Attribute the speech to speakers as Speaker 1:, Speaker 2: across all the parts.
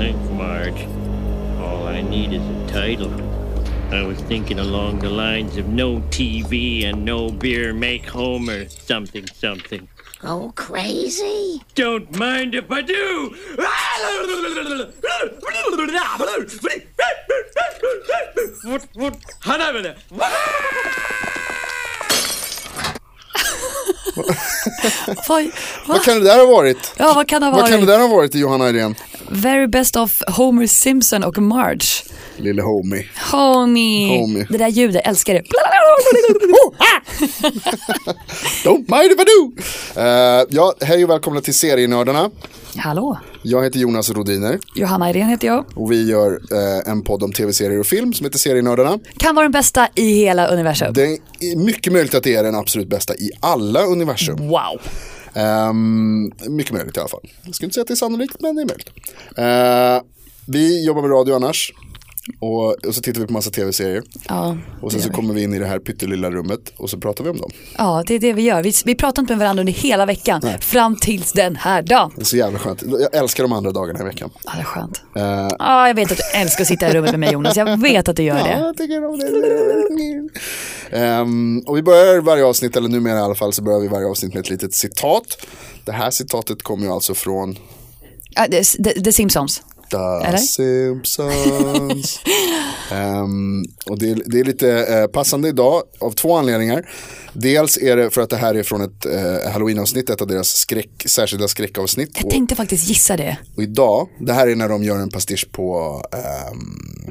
Speaker 1: Sarge. All I need is a title. I was thinking along the lines of no TV and no beer make home or something something.
Speaker 2: Go crazy?
Speaker 1: Don't mind if I do! What, what?
Speaker 3: Vad,
Speaker 4: Vad
Speaker 3: vad,
Speaker 4: kan det där ha varit?
Speaker 3: ja, vad kan det ha
Speaker 4: Vad kan det
Speaker 3: varit?
Speaker 4: där ha varit Johanna Irene?
Speaker 3: Very best of Homer Simpson och Marge.
Speaker 4: Lille homie.
Speaker 3: Homie.
Speaker 4: Homie.
Speaker 3: Det där ljudet, älskar det.
Speaker 4: Don't mind if I do! Eh, ja, hej och välkomna till Serienördarna.
Speaker 3: Hallå,
Speaker 4: Jag heter Jonas Rodiner
Speaker 3: Johanna Irene heter jag.
Speaker 4: och vi gör eh, en podd om tv-serier och film som heter Serienördarna.
Speaker 3: Kan vara den bästa i hela universum.
Speaker 4: Det är mycket möjligt att det är den absolut bästa i alla universum.
Speaker 3: Wow.
Speaker 4: Ehm, mycket möjligt i alla fall. Jag skulle inte säga att det är sannolikt, men det är möjligt. Eh, vi jobbar med radio annars. Och, och så tittar vi på massa tv-serier.
Speaker 3: Ja,
Speaker 4: Och sen så kommer vi in i det här pyttelilla rummet och så pratar vi om dem.
Speaker 3: ja, det är det vi gör. Vi, vi pratar inte med varandra under hela veckan fram tills den här dagen.
Speaker 4: Det är så jävla skönt. Jag älskar de andra dagarna i veckan.
Speaker 3: Ja, det är skönt.
Speaker 4: Eh,
Speaker 3: Ja, jag vet att du älskar att sitta i rummet med mig Jonas. Jag vet att du gör
Speaker 4: Ja,
Speaker 3: det.
Speaker 4: jag tycker om det. Ehm, och vi börjar varje avsnitt, eller numera i alla fall, så börjar vi varje avsnitt med ett litet citat. Det här citatet kommer ju alltså från
Speaker 3: Ja, det är- det- The Simpsons.
Speaker 4: The
Speaker 3: Eller?
Speaker 4: Simpsons. Ehm, och det, är- det är lite eh, passande idag av två anledningar. Dels är det för att det här är från ett eh, halloweenavsnitt, ett av deras skräck, särskilda skräckavsnitt.
Speaker 3: Jag
Speaker 4: Och-
Speaker 3: tänkte faktiskt gissa det.
Speaker 4: Och idag, det här är när de gör en pastisch på, ehm,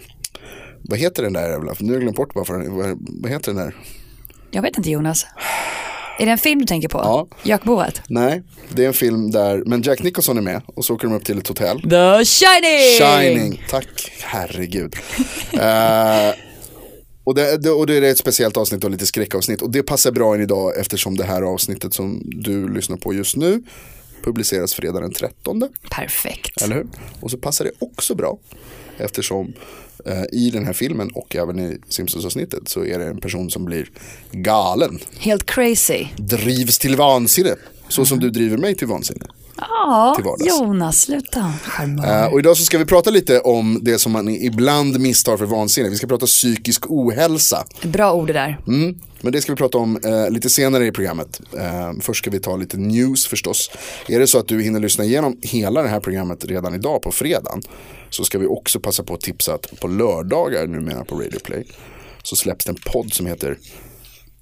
Speaker 4: vad heter den där jävla, nu har jag glömt bort varför, den- vad, vad heter den där?
Speaker 3: Jag vet inte Jonas. Är det en film du tänker på?
Speaker 4: Ja.
Speaker 3: Jackboet?
Speaker 4: Nej, det är en film där, men Jack Nicholson är med och så åker de upp till ett hotell.
Speaker 3: The Shining!
Speaker 4: Shining, tack, herregud. Eh, och, det, det, och det är ett speciellt avsnitt och lite skräckavsnitt. Och det passar bra in idag eftersom det här avsnittet som du lyssnar på just nu publiceras fredag den 13.
Speaker 3: Perfekt.
Speaker 4: Eller hur? Och så passar det också bra eftersom eh, i den här filmen och även i Simpsons-avsnittet så är det en person som blir galen,
Speaker 3: Helt crazy.
Speaker 4: drivs till vansinne. Så som du driver mig till vansinne.
Speaker 3: Ja,
Speaker 4: Till vardags.
Speaker 3: Jonas, sluta. Charmör.
Speaker 4: Eh, och idag så ska vi prata lite om det som man ibland misstar för vansinne. Vi ska prata psykisk ohälsa.
Speaker 3: Bra ord det där.
Speaker 4: Mm. Men det ska vi prata om eh, lite senare i programmet. Eh, först ska vi ta lite news förstås. Är det så att du hinner lyssna igenom hela det här programmet redan idag på fredagen så ska vi också passa på att tipsa att på lördagar numera på Radio Play så släpps det en podd som heter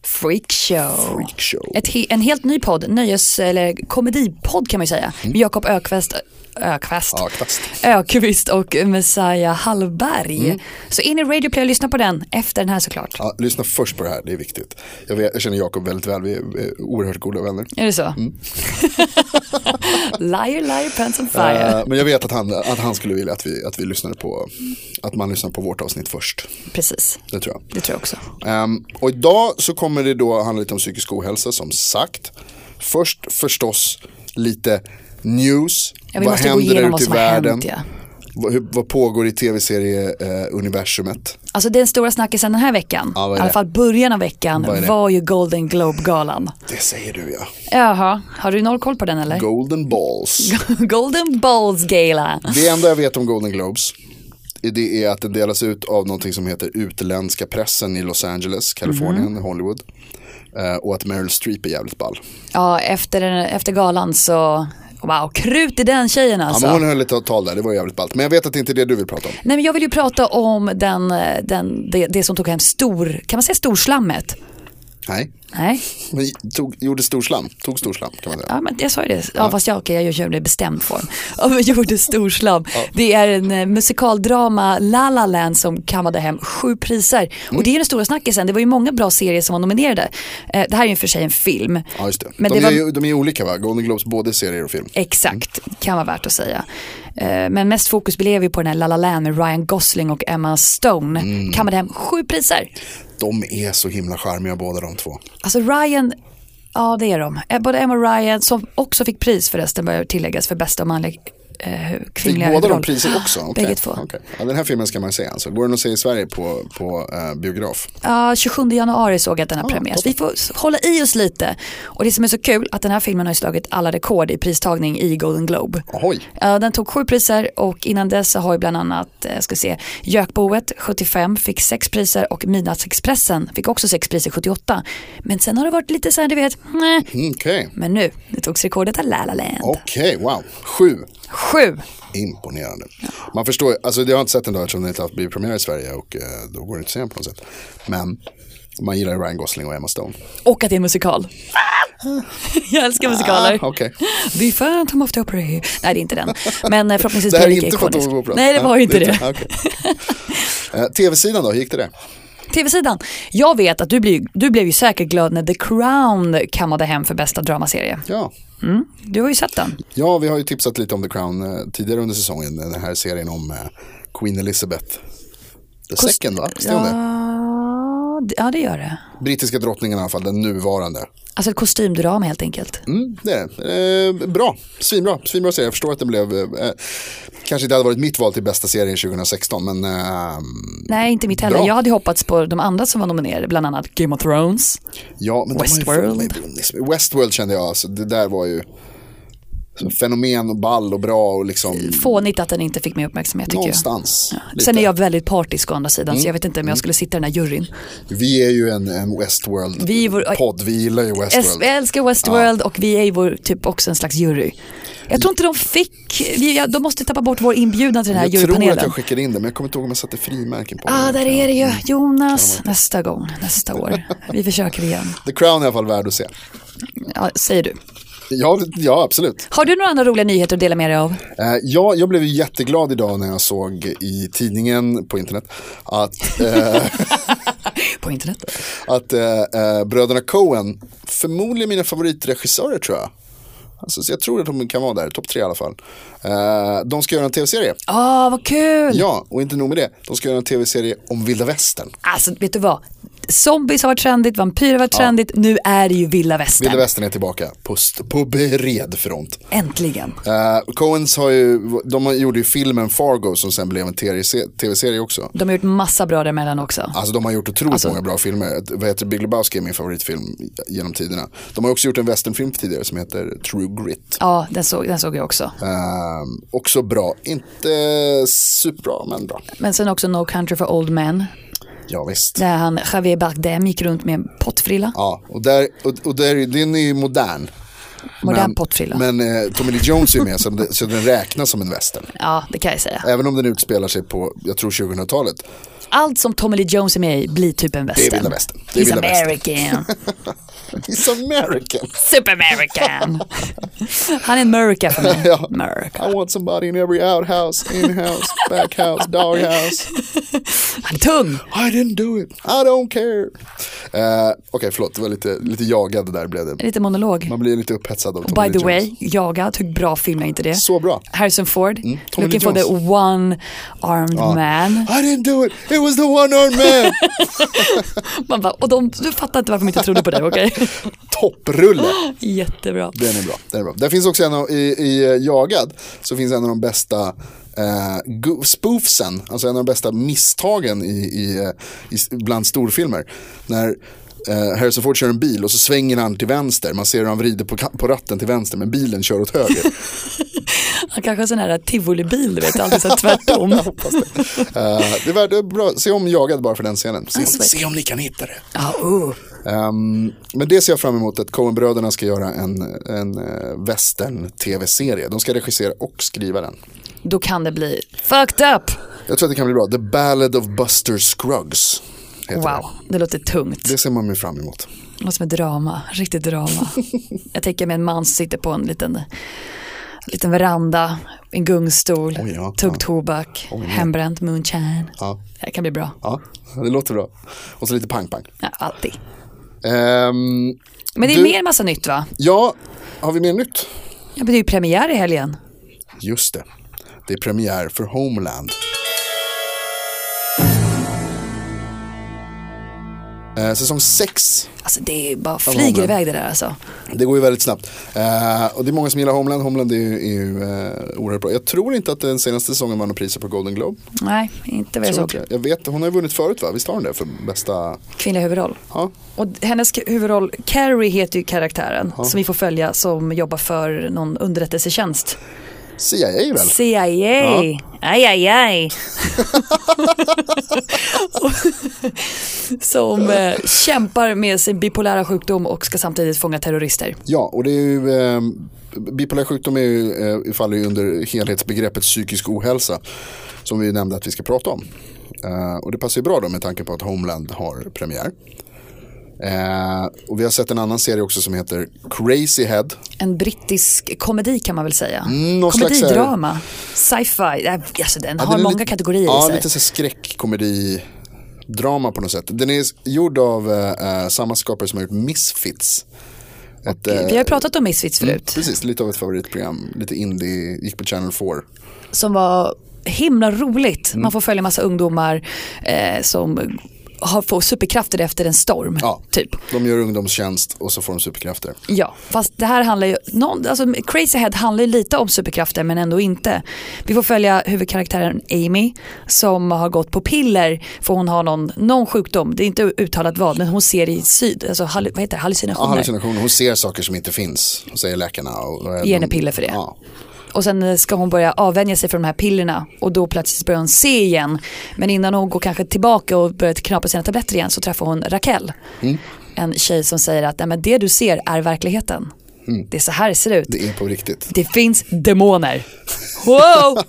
Speaker 3: Freakshow.
Speaker 4: Freak Show.
Speaker 3: Ett he- en helt ny podd, nöjes eller komedipodd kan man ju säga. Med Jakob Ökvist, Ökvist.
Speaker 4: Mm. Ja, kvast.
Speaker 3: Ökvist och Messiah Hallberg. Så in i Radio Play och lyssna på den efter den här såklart.
Speaker 4: Mm. Ja, lyssna först på det här, det är viktigt. Jag, vet, jag känner Jakob väldigt väl, vi är eh, oerhört goda vänner.
Speaker 3: Är det så?
Speaker 4: Mm.
Speaker 3: liar, liar, pants on fire.
Speaker 4: Eh, men jag vet att han, att han skulle vilja att, vi, att, vi lyssnade på, att man lyssnar på vårt avsnitt först.
Speaker 3: Precis,
Speaker 4: Det tror jag.
Speaker 3: det tror jag också.
Speaker 4: Ehm, och idag så kommer det då handla lite om psykisk ohälsa som sagt. Först förstås lite news.
Speaker 3: Ja, vi måste gå igenom vad som har hänt, ja.
Speaker 4: Vad, hur, vad pågår i eh, tv-serieuniversumet?
Speaker 3: Alltså den stora snackisen den här veckan,
Speaker 4: Ja, vad är
Speaker 3: i alla
Speaker 4: det?
Speaker 3: fall början av veckan,
Speaker 4: Vad är det?
Speaker 3: var ju Golden Globe-galan.
Speaker 4: det säger du ja.
Speaker 3: Jaha, har du noll koll på den eller?
Speaker 4: Golden balls.
Speaker 3: Golden Balls-gala.
Speaker 4: Det enda jag vet om Golden Globes är det är att den delas ut av någonting som heter utländska pressen i Los Angeles, Kalifornien,
Speaker 3: Mm.
Speaker 4: Hollywood. Eh, och att Meryl Streep är jävligt ball.
Speaker 3: Ja, efter, den- efter galan så, wow, krut i den tjejen
Speaker 4: Ja,
Speaker 3: alltså.
Speaker 4: men hon höll ett tal där, det var jävligt ballt. Men jag vet att det inte är det du vill prata om.
Speaker 3: Nej men jag vill ju prata om den, eh, den, det, det som tog hem stor, kan man säga storslammet?
Speaker 4: Nej.
Speaker 3: Nej,
Speaker 4: Men tog, gjorde storslam, tog storslam kan man säga.
Speaker 3: ja, men jag sa ju det, ja, fast jag, okay, jag gör det i bestämd form. Ja, men jag gjorde storslam. Det är en eh, musikaldrama, La La Land, som kammade hem sju priser.
Speaker 4: Mm.
Speaker 3: Och det är den stora snackisen, det var ju många bra serier som var nominerade. Eh, Det här är ju för sig en film.
Speaker 4: Ja just det.
Speaker 3: Men det
Speaker 4: de, är
Speaker 3: var-
Speaker 4: ju, Mm. de är ju olika va? Golden Globes både serier och film.
Speaker 3: Exakt, kan vara värt att säga. Eh, Men mest fokus blev ju på den här La La Land med Ryan Gosling och Emma Stone.
Speaker 4: Mm.
Speaker 3: Kammade hem sju priser.
Speaker 4: De är så himla charmiga båda de två.
Speaker 3: Alltså Ryan, ja det är de. Eh, Både Emma och Ryan som också fick pris förresten bör tilläggas för bästa manliga eh,
Speaker 4: Fick
Speaker 3: kvinnliga
Speaker 4: båda de
Speaker 3: huvudroll.
Speaker 4: priser också? Okej,
Speaker 3: Bägge två.
Speaker 4: okej. Ja, den här filmen ska man se alltså. Går den att se i Sverige på, på eh, biograf?
Speaker 3: Ja, 27 januari såg jag att den har
Speaker 4: Ja,
Speaker 3: premiärs.
Speaker 4: Ah, toppen.
Speaker 3: Vi får s- hålla i oss lite. Och det som är så kul att den här filmen har ju slagit alla rekord i pristagning i Golden Globe.
Speaker 4: Ahoj,
Speaker 3: Ja, Den tog sju priser och innan dess så har ju bland annat eh, ska vi se, Jökboet 75 fick sex priser och Midnattsexpressen fick också sex priser 78. Men sen har det varit lite så här, du vet, nej.
Speaker 4: Mm, okej.
Speaker 3: Men nu, nu togs rekordet av La La Land.
Speaker 4: Okej, wow. Sju.
Speaker 3: Sju.
Speaker 4: Imponerande. Man förstår, ju- alltså jag har inte sett den då eftersom den inte haft biopremiär i Sverige och eh, då går det inte att se den på något sätt. Men man gillar ju Ryan Gosling och Emma Stone.
Speaker 3: Och att det är en musikal. Jag älskar musikaler.
Speaker 4: Ah, okej.
Speaker 3: The Phantom of the Opera. Nej, det är inte den. Men eh, förhoppningsvis
Speaker 4: Det här
Speaker 3: blir
Speaker 4: är
Speaker 3: den lika
Speaker 4: inte Phantom
Speaker 3: ikonisk.
Speaker 4: of the Opera.
Speaker 3: Nej, det var
Speaker 4: Ja,
Speaker 3: ju inte det.
Speaker 4: okej. Eh, Tv-sidan då, hur gick det där?
Speaker 3: Tv-sidan. Jag vet att du, blir, du blev ju säkert glad när The Crown kammade hem för bästa dramaserie.
Speaker 4: Ja.
Speaker 3: Mm. Du har ju sett den.
Speaker 4: ja, vi har ju tipsat lite om The Crown eh, tidigare under säsongen. Den här serien om eh, Queen Elizabeth. The second va? Visste hon det?
Speaker 3: Ja, d- ja, det gör det.
Speaker 4: Brittiska drottningen i alla fall, den nuvarande.
Speaker 3: Alltså ett kostymdrama helt enkelt.
Speaker 4: Mm, det är det. Eh, bra, svinbra. Svinbra serie. Jag förstår att den blev, eh, kanske inte hade varit mitt val till bästa serien 2016, men eh,
Speaker 3: Nej, inte mitt heller.
Speaker 4: Bra.
Speaker 3: Jag hade hoppats på de andra som var nominerade, bland annat Game of Thrones.
Speaker 4: ja. Men de har ju-
Speaker 3: Westworld.
Speaker 4: Westworld kände jag, alltså, det där var ju så fenomen och ball och bra och liksom
Speaker 3: Fånigt att den inte fick mer uppmärksamhet tycker
Speaker 4: någonstans.
Speaker 3: jag. Sen är jag väldigt partisk å andra sidan,
Speaker 4: Mm.
Speaker 3: så jag vet inte om jag skulle sitta i den här juryn.
Speaker 4: Vi är ju en, en
Speaker 3: Vi är vår-
Speaker 4: Westworld-podd, vi gillar ju
Speaker 3: Es-
Speaker 4: Westworld.
Speaker 3: Jag älskar Westworld och vi är ju vår, typ också en slags jury. Jag tror inte de fick, vi, ja, de måste tappa bort vår inbjudan till den här
Speaker 4: Jag tror att
Speaker 3: jurypanelen.
Speaker 4: jag skickade in det, men jag kommer inte ihåg om jag satte frimärken på
Speaker 3: ah,
Speaker 4: det.
Speaker 3: där är det
Speaker 4: Mm.
Speaker 3: ju. Jonas, nästa gång, nästa år. Vi försöker igen.
Speaker 4: The Crown är i alla fall värd att se.
Speaker 3: Ja, säger du.
Speaker 4: Ja, det- ja absolut.
Speaker 3: Har du några andra roliga nyheter att dela med dig av?
Speaker 4: Eh, Jag, jag blev ju jätteglad idag när jag såg i tidningen på internet att, eh,
Speaker 3: På internet?
Speaker 4: att eh, eh, bröderna Coen, förmodligen mina favoritregissörer tror jag. Alltså, så jag tror att de kan vara där, topp tre i alla fall. Eh, de ska göra en tv-serie.
Speaker 3: Ah, vad kul!
Speaker 4: Ja, och inte nog med det. De ska göra en tv-serie om vilda västern.
Speaker 3: Alltså, vet du vad? Zombies har varit trendigt, vampyrer har varit trendigt, nu är det ju vilda västern.
Speaker 4: Vilda västern är tillbaka på, st- på bred front.
Speaker 3: Äntligen.
Speaker 4: Eh, Coens har ju, de har- gjorde ju filmen Fargo som sen blev en tv-se- tv-serie också.
Speaker 3: De har gjort massa bra däremellan också.
Speaker 4: Alltså de har gjort otroligt
Speaker 3: Alltså-
Speaker 4: många bra filmer. Vad heter det? Big Lebowski är min favoritfilm genom tiderna. De har också gjort en westernfilm tidigare som heter True Grit.
Speaker 3: Ja, den såg, den såg jag också.
Speaker 4: Ehm, också bra, inte superbra men bra.
Speaker 3: Men sen också No Country for Old Men,
Speaker 4: Ja visst.
Speaker 3: där han, Javier Bardem gick runt med en pottfrilla.
Speaker 4: Ja, och, där, och, och där, den är ju modern.
Speaker 3: Modern
Speaker 4: men,
Speaker 3: pottfrilla.
Speaker 4: Men eh, Tommy Lee Jones är ju med så, den- så den räknas som en western.
Speaker 3: Ja, det kan jag säga.
Speaker 4: Även om den utspelar sig på, jag tror 2000-talet.
Speaker 3: Allt som Tommy Lee Jones är med i blir typ en västern.
Speaker 4: vilda västern. Det är
Speaker 3: He's
Speaker 4: vilda västern.
Speaker 3: American.
Speaker 4: He's American.
Speaker 3: Super American. han är en Murica för mig.
Speaker 4: Ja.
Speaker 3: America.
Speaker 4: I want somebody in every outhouse, inhouse, backhouse, doghouse.
Speaker 3: Han är tung.
Speaker 4: I didn't do it, I don't care. Eh, Okej, förlåt, det var lite, lite jagad där blev det.
Speaker 3: Lite monolog.
Speaker 4: Man blir lite upphetsad av Tommy
Speaker 3: By the
Speaker 4: Lee Jones.
Speaker 3: way, jagad, hur bra film är inte det?
Speaker 4: Så bra. Mm,
Speaker 3: Harrison Ford,
Speaker 4: Tommy
Speaker 3: Looking
Speaker 4: Lee
Speaker 3: for the
Speaker 4: Jones.
Speaker 3: one-armed man.
Speaker 4: I didn't do it, it was the one-armed man.
Speaker 3: Man bara, och de, du fattar inte varför de inte trodde på det, okej?
Speaker 4: Topprulle.
Speaker 3: Jättebra.
Speaker 4: Den är bra. Den är bra. Där finns också en av, i, i eh, Jagad, så finns en av de bästa eh, go- spoofsen, alltså en av de bästa misstagen i, i, eh, i, s- bland storfilmer. När eh, Harrison Ford kör en bil och så svänger han till vänster, man ser hur han vrider på, ka- på ratten till vänster men bilen kör åt höger.
Speaker 3: Han kanske har sån här tivolibil, du vet, alltid så här tvärtom.
Speaker 4: Eh, det är värt, det är bra. Se om Jagad bara för den scenen. Se om,
Speaker 3: Alltså, vad-
Speaker 4: se om ni kan hitta det.
Speaker 3: Ja, oh.
Speaker 4: Ehm, men det ser jag fram emot att Coen-bröderna ska göra en, en eh, western-tv-serie. De ska regissera och skriva den.
Speaker 3: Då kan det bli fucked up.
Speaker 4: Jag tror att det kan bli bra. The Ballad of Buster Scruggs. Heter
Speaker 3: Wow, det låter tungt.
Speaker 4: Det. det ser man ju fram emot.
Speaker 3: Det låter som ett drama, riktigt drama. Jag tänker mig en man som sitter på en liten, liten veranda, en gungstol,
Speaker 4: Oj, ja.
Speaker 3: tuggtobak, hembränt moonshine.
Speaker 4: Ja.
Speaker 3: Det här kan bli bra.
Speaker 4: Ja, det låter bra. Och så lite pang-pang.
Speaker 3: Ja, alltid.
Speaker 4: Ehm,
Speaker 3: Men det är
Speaker 4: Du-
Speaker 3: mer massa nytt va?
Speaker 4: ja, har vi mer nytt?
Speaker 3: Ja, men det är ju premiär i helgen.
Speaker 4: Just det. Det är premiär för Homeland. Eh, säsong 6
Speaker 3: Alltså det är bara flyger
Speaker 4: Homeland.
Speaker 3: iväg det där alltså.
Speaker 4: Det går ju väldigt snabbt. Eh, och det är många som gillar Homeland. Homeland är ju, är ju eh, oerhört bra. Jag tror inte att den senaste säsongen vann något priser på Golden Globe.
Speaker 3: Nej, inte vad jag
Speaker 4: Tror inte
Speaker 3: såg.
Speaker 4: jag. jag vet, hon har ju vunnit förut va? Visst har hon det för bästa?
Speaker 3: Kvinnliga huvudroll.
Speaker 4: Ja.
Speaker 3: Och hennes k- huvudroll, Carrie heter ju karaktären som vi får följa som jobbar för någon underrättelsetjänst.
Speaker 4: CIA väl?
Speaker 3: CIA. Aj, aj, aj. som eh, kämpar med sin bipolära sjukdom och ska samtidigt fånga terrorister.
Speaker 4: Ja, och det är ju, eh, bipolär sjukdom är ju, eh, faller ju under helhetsbegreppet psykisk ohälsa. Som vi nämnde att vi ska prata om. Eh, och det passar ju bra då med tanke på att Homeland har premiär. Eh, och vi har sett en annan serie också som heter Crazy Head.
Speaker 3: En brittisk komedi kan man väl säga.
Speaker 4: Mm, någon slags- eh,
Speaker 3: Komedidrama, sci-fi, Eh, alltså den
Speaker 4: Ja,
Speaker 3: har
Speaker 4: den är
Speaker 3: många
Speaker 4: lite-
Speaker 3: kategorier
Speaker 4: Ja,
Speaker 3: i sig.
Speaker 4: lite så här skräckkomedi drama på något sätt. Den är gjord av eh, eh, samma skapare som har gjort Misfits. Ett, eh,
Speaker 3: Vi har ju pratat om Misfits
Speaker 4: mm,
Speaker 3: förut,
Speaker 4: Precis, lite av ett favoritprogram. Lite indie, gick på Channel 4.
Speaker 3: som var himla roligt.
Speaker 4: Mm.
Speaker 3: Man får följa massa ungdomar eh, som har, får superkrafter efter en storm.
Speaker 4: Ja,
Speaker 3: Typ.
Speaker 4: De gör ungdomstjänst och så får de superkrafter.
Speaker 3: Ja, fast det här handlar ju, någon, alltså Crazy Head handlar ju lite om superkrafter men ändå inte. Vi får följa huvudkaraktären Amy som har gått på piller för hon har någon, någon sjukdom, det är inte uttalat vad, men hon ser i syd, alltså hall, vad heter det,
Speaker 4: Ja,
Speaker 3: hallucinationer.
Speaker 4: hallucinationer. Hon ser saker som inte finns, säger läkarna. Och, och-
Speaker 3: Ge henne piller för det.
Speaker 4: Ja.
Speaker 3: Och sen eh, ska hon börja avvänja sig från de här pillerna och då plötsligt börjar hon se igen. Men innan hon går kanske tillbaka och börjar knapra sina tabletter igen så träffar hon Raquel.
Speaker 4: Mm.
Speaker 3: En tjej som säger att Nej, men det du ser är verkligheten. Det är så här det ser ut.
Speaker 4: Mm. Det är på riktigt.
Speaker 3: Det finns demoner. Wow!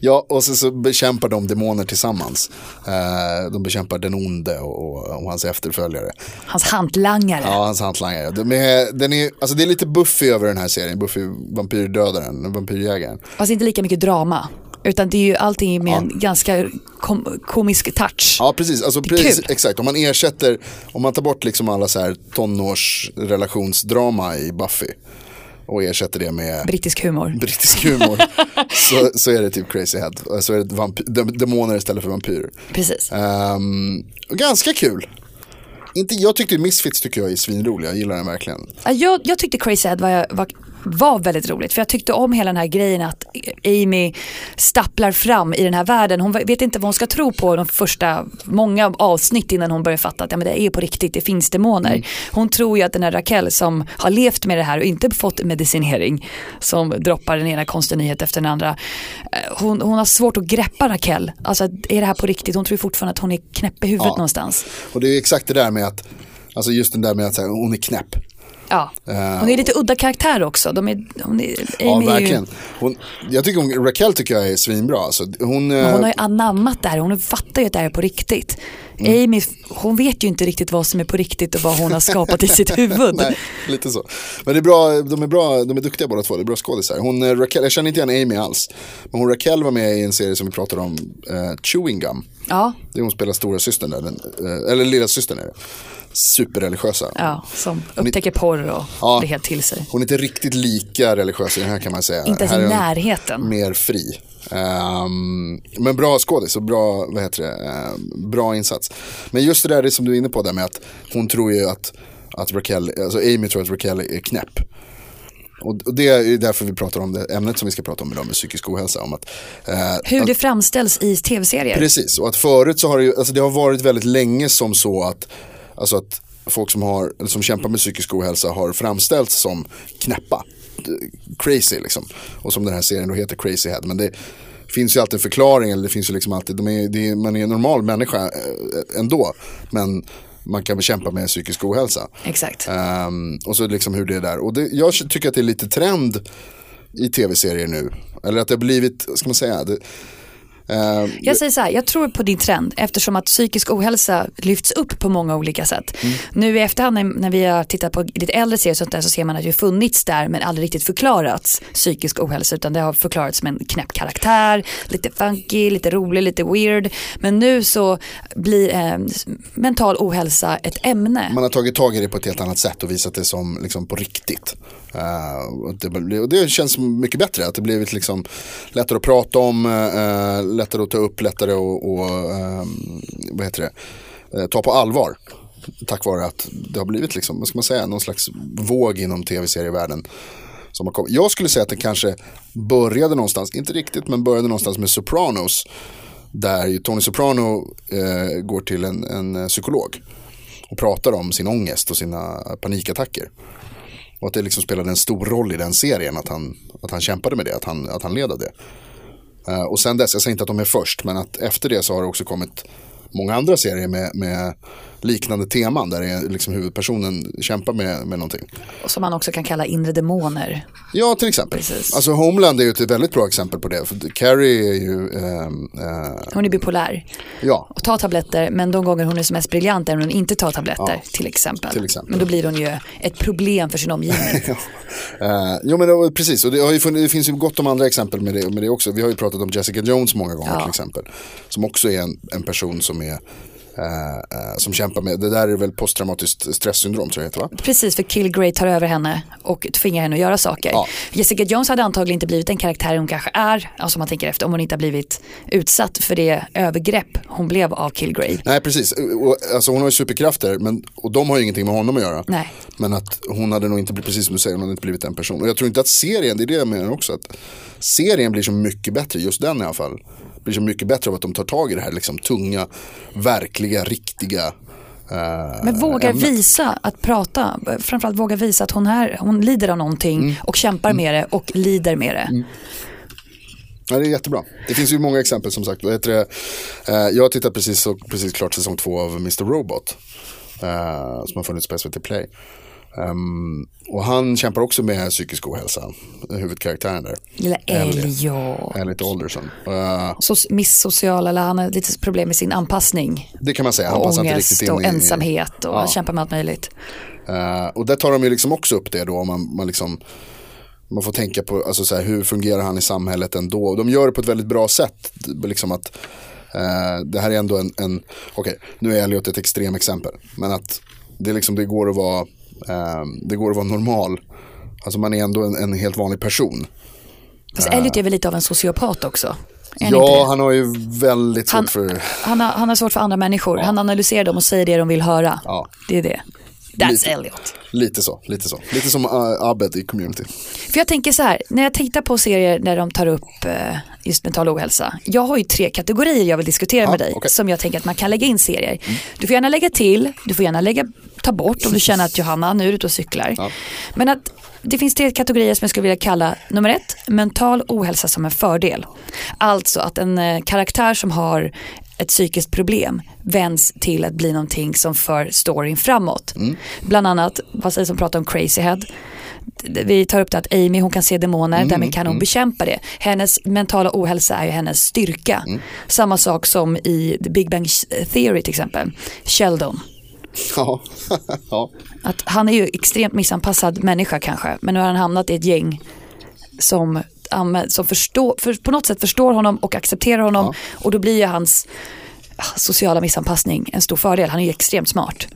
Speaker 4: Ja, och sen så bekämpar de demoner tillsammans. Eh, de bekämpar den onde och, och, och hans efterföljare.
Speaker 3: Hans hantlangare.
Speaker 4: Ja, hans hantlangare. De är, den är, alltså det är lite Buffy över den här serien. Buffy, vampyrdödaren, vampyrjägaren.
Speaker 3: Fast inte lika mycket drama. Utan det är ju allting med en ganska kom- komisk touch.
Speaker 4: Ja, precis. Alltså,
Speaker 3: är
Speaker 4: precis
Speaker 3: kul.
Speaker 4: exakt. Om man ersätter, om man tar bort liksom alla så här tonårsrelationsdrama i Buffy och ersätter det med
Speaker 3: Brittisk humor.
Speaker 4: brittisk humor så, så är det typ crazy head. Så är det vampy- dem- demoner istället för vampyrer.
Speaker 3: Precis.
Speaker 4: Ehm, och ganska kul. Inte, jag tyckte Misfits tycker jag är svinrolig, jag gillar den verkligen.
Speaker 3: Ja, Jag, jag tyckte Crazy Head var, var, var väldigt roligt för jag tyckte om hela den här grejen att Amy stapplar fram i den här världen. Hon vet inte vad hon ska tro på de första många avsnitt innan hon börjar fatta att ja, men det är på riktigt, det finns demoner.
Speaker 4: Mm.
Speaker 3: Hon tror ju att den här Raquel som har levt med det här och inte fått medicinering som droppar den ena konstiga nyhet efter den andra. eh, Hon, hon har svårt att greppa Raquel. Alltså är det här på riktigt? Hon tror ju fortfarande att hon är knäpp i huvudet
Speaker 4: Ja.
Speaker 3: någonstans.
Speaker 4: Och det är exakt det där med att, alltså just den där med att så här, hon är knäpp.
Speaker 3: Ja. Hon är lite udda karaktär också. De är, hon är,
Speaker 4: Eh. Ja,
Speaker 3: Amy är ju-
Speaker 4: verkligen. Hon, jag tycker hon, Raquel tycker jag är svinbra. Alltså, hon, eh,
Speaker 3: Men Hon har ju anammat det här, hon fattar ju att det här är på riktigt.
Speaker 4: Mm.
Speaker 3: Amy, hon vet ju inte riktigt vad som är på riktigt och vad hon har skapat i sitt huvud.
Speaker 4: Nej, lite så. Men det är bra, de är bra, de är duktiga båda två, det är bra skådisar. Hon, eh, Raquel, jag känner inte igen Amy alls. Men hon Raquel var med i en serie som vi pratade om, eh, Chewing Gum.
Speaker 3: Ja,
Speaker 4: Det är hon spelar stora systern där, den, eh, eller lilla systern är det. Superreligiösa.
Speaker 3: ja, som upptäcker porr och
Speaker 4: Ja.
Speaker 3: blir helt till sig.
Speaker 4: Hon är inte riktigt lika religiös i den här kan man säga.
Speaker 3: Inte ens i
Speaker 4: här är hon
Speaker 3: närheten.
Speaker 4: Mer fri. Ehm, men bra skådis och bra, vad heter det, ehm, bra insats. Men just det där det som du är inne på där med att hon tror ju att, att Raquel, alltså Amy tror att Raquel är knäpp. Och och det är ju därför vi pratar om det ämnet som vi ska prata om idag med psykisk ohälsa. Om att, eh,
Speaker 3: Hur det framställs i tv-serier.
Speaker 4: Precis, och att förut så har det ju, alltså det har varit väldigt länge som så att, alltså att folk som, har, eller som kämpar med psykisk ohälsa har framställts som knäppa. D- Crazy liksom. Och som den här serien då heter Crazy Head. Men det finns ju alltid en förklaring, eller det finns ju liksom alltid, de är, det är, man är en normal människa eh, ändå. Men man kan bekämpa med psykisk ohälsa.
Speaker 3: Exakt.
Speaker 4: Ehm, och så liksom hur det är där. Och det, jag tycker att det är lite trend i tv-serier nu. Eller att det har blivit, vad ska man säga, det, ehm,
Speaker 3: Jag säger så här, jag tror på din trend eftersom att psykisk ohälsa lyfts upp på många olika sätt. Nu i efterhand när- när vi har tittat på lite äldre serier och sånt där så ser man att det har funnits där men aldrig riktigt förklarats psykisk ohälsa utan det har förklarats som en knäpp karaktär, lite funky, lite rolig, lite weird. Men nu så blir eh, s- mental ohälsa ett ämne.
Speaker 4: man har tagit tag i det på ett helt annat sätt och visat det som liksom, på riktigt. Eh, och, det, blir- och det känns mycket bättre, att det blivit liksom, lättare att prata om, eh, lättare att eh, ta upp, lättare att och, ehm, vad heter det? eh, ta på allvar. tack vare att det har blivit liksom, vad ska man säga, någon slags våg inom tv-serievärlden. Som har kommit. Jag skulle säga att den kanske började någonstans, inte riktigt, men började någonstans med Sopranos. Där ju Tony Soprano eh, går till en, en psykolog och pratar om sin ångest och sina panikattacker. Och att det liksom spelade en stor roll i den serien att han, att han kämpade med det, att han, att han led av det. Eh, och sen dess, jag säger inte att de är först, men att efter det så har det också kommit många andra serier med, med liknande teman där det är liksom huvudpersonen kämpar med, med någonting.
Speaker 3: Och Som man också kan kalla inre demoner.
Speaker 4: Ja, till exempel.
Speaker 3: Precis.
Speaker 4: Alltså Homeland är ju ett väldigt bra exempel på det. För Carrie är ju, ehm, eh,
Speaker 3: Hon är bipolär
Speaker 4: ja,
Speaker 3: och tar tabletter men de gånger hon är som mest briljant är när hon inte tar tabletter till, exempel.
Speaker 4: till exempel.
Speaker 3: Men då blir hon ju ett problem för sin omgivning.
Speaker 4: Eh, jo men det var, precis, och det, har ju funnits, det finns ju gott om andra exempel med det, med det också. Vi har ju pratat om Jessica Jones många gånger
Speaker 3: Ja.
Speaker 4: till exempel. Som också är en, en person som är eh, eh, som kämpar med, det där är väl posttraumatiskt stresssyndrom tror jag det heter va?
Speaker 3: Precis, för Kilgrave tar över henne och tvingar henne att göra saker.
Speaker 4: Ja.
Speaker 3: Jessica Jones hade antagligen inte blivit den karaktär hon kanske är, alltså om man tänker efter, om hon inte har blivit utsatt för det övergrepp hon blev av Kilgrave.
Speaker 4: Nej precis, och, och, alltså, hon har ju superkrafter men, och de har ju ingenting med honom att göra.
Speaker 3: Nej.
Speaker 4: Men att hon hade nog inte blivit, precis som du säger, hon hade inte blivit den personen. Och jag tror inte att serien, det är det jag menar också, att serien blir så mycket bättre, just den i alla fall, blir så mycket bättre av att de tar tag i det här liksom tunga, verkliga, riktiga. eh,
Speaker 3: Men våga
Speaker 4: ämnet.
Speaker 3: visa att prata, framförallt våga visa att hon, är, hon lider av någonting
Speaker 4: Mm.
Speaker 3: och kämpar med det och lider med det.
Speaker 4: Ja, det är jättebra. Det finns ju många exempel som sagt. Vad heter det? Eh, jag har tittat precis, och, precis klart säsong två av Mr. Robot. Eh, som har funnits på SVT Play. Ehm, och han kämpar också med psykisk ohälsa. Huvudkaraktären där.
Speaker 3: Lilla
Speaker 4: Elliot.
Speaker 3: Elliot.
Speaker 4: Elliot Alderson. Eh,
Speaker 3: Så missocial, eller han har lite problem med sin anpassning.
Speaker 4: det kan man säga. Han
Speaker 3: och
Speaker 4: passar inte
Speaker 3: ångest
Speaker 4: riktigt in
Speaker 3: och
Speaker 4: i-
Speaker 3: ensamhet och
Speaker 4: Ja.
Speaker 3: kämpar med allt möjligt.
Speaker 4: Eh, och där tar de ju liksom också upp det då. om Man, man, liksom, man får tänka på alltså, så här, hur fungerar han i samhället ändå. Och de gör det på ett väldigt bra sätt. Liksom att, eh, det här är ändå en, en okej nu är Elliot ett extrem exempel. Men att det, är liksom, det, går att vara, eh, det går att vara normal. Alltså man är ändå en, en helt vanlig person.
Speaker 3: Fast Elliot är väl lite av en sociopat också? Är han inte
Speaker 4: ja,
Speaker 3: det?
Speaker 4: han har ju väldigt svårt
Speaker 3: Han-
Speaker 4: för...
Speaker 3: han, har, han har svårt för andra människor. Han analyserar dem och säger det de vill höra.
Speaker 4: Ja.
Speaker 3: Det är det. That's
Speaker 4: Lite.
Speaker 3: Elliot.
Speaker 4: Lite så, lite så. Lite som eh, Abed i Community.
Speaker 3: För jag tänker så här, när jag tittar på serier där de tar upp eh, just mental ohälsa. Jag har ju tre kategorier jag vill diskutera med dig
Speaker 4: okej.
Speaker 3: som jag tänker att man kan lägga in serier. Du får gärna lägga till, du får gärna lägga, ta bort om du känner att Johanna, nu är du ute och cyklar. Men att det finns tre kategorier som jag skulle vilja kalla nummer ett, mental ohälsa som en fördel. Alltså att en eh, karaktär som har ett psykiskt problem vänds till att bli någonting som för storyn framåt. Bland annat, vad sägs om prata om crazy head? vi tar upp det att Amy hon kan se demoner, därmed kan hon bekämpa det. Hennes mentala ohälsa är ju hennes styrka. Samma sak som i The Big Bang Theory till exempel, Sheldon.
Speaker 4: ja. ja.
Speaker 3: Att han är ju extremt missanpassad människa kanske, men nu har han hamnat i ett gäng som, anvä- som förstår, för, på något sätt förstår honom och accepterar honom och då blir ju hans ah, sociala missanpassning en stor fördel. Han är ju extremt smart.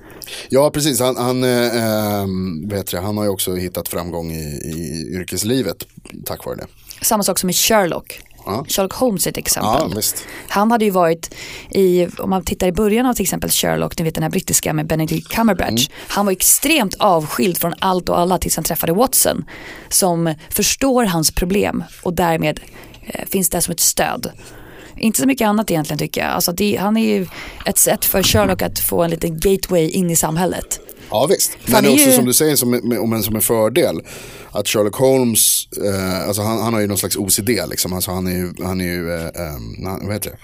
Speaker 4: Ja, precis. Han, han, eh, eh, vad heter det? han har ju också hittat framgång i, i yrkeslivet tack vare det.
Speaker 3: Samma sak som i Sherlock.
Speaker 4: Ja.
Speaker 3: Sherlock Holmes är ett exempel.
Speaker 4: Ja, visst.
Speaker 3: Han hade ju varit i, om man tittar i början av till exempel Sherlock, ni vet den här brittiska med Benedict Cumberbatch.
Speaker 4: Mm.
Speaker 3: Han var extremt avskild från allt och alla tills han träffade Watson. Som förstår hans problem och därmed eh, finns där som ett stöd. Inte så mycket annat egentligen tycker jag. Alltså det, han är ju ett sätt för Sherlock att få en liten gateway in i samhället.
Speaker 4: Ja, visst.
Speaker 3: han
Speaker 4: Men det
Speaker 3: är
Speaker 4: är också
Speaker 3: ju-
Speaker 4: som du säger, som, med- om en, som en fördel. Att Sherlock Holmes, eh, alltså han, han har ju någon slags OCD liksom. Alltså han är ju, han är ju eh, eh, han, vad heter det?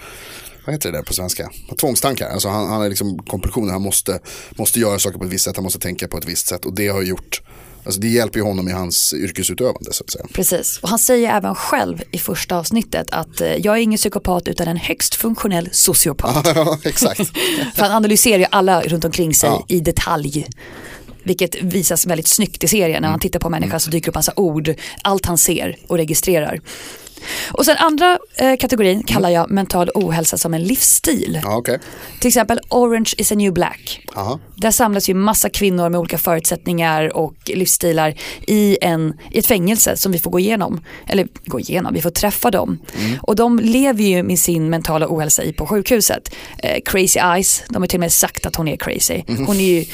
Speaker 4: Vad heter det där på svenska? Tvångstankar. Alltså han, han är liksom kompulsioner. Han måste, måste göra saker på ett visst sätt. Han måste tänka på ett visst sätt. Och det har gjort, alltså det hjälper ju honom i hans yrkesutövande så att säga.
Speaker 3: Precis, och han säger även själv i första avsnittet att eh, jag är ingen psykopat utan en högst funktionell sociopat.
Speaker 4: Ja, exakt.
Speaker 3: För han analyserar ju alla runt omkring sig
Speaker 4: Ja.
Speaker 3: i detalj. Vilket visas väldigt snyggt i serien.
Speaker 4: Mm.
Speaker 3: När man tittar på människan så dyker upp massa ord, allt han ser och registrerar. Och sen andra eh, kategorin kallar jag mental ohälsa som en livsstil.
Speaker 4: Mm. Ja, okej.
Speaker 3: Till exempel Orange is a new black.
Speaker 4: Aha.
Speaker 3: Där samlas ju massa kvinnor med olika förutsättningar och livsstilar i, en, i ett fängelse som vi får gå igenom. Eller gå igenom, vi får träffa dem. Och de lever ju med sin mentala ohälsa i på sjukhuset. Eh, crazy eyes, de har till och med sagt att hon är crazy. Hon är ju,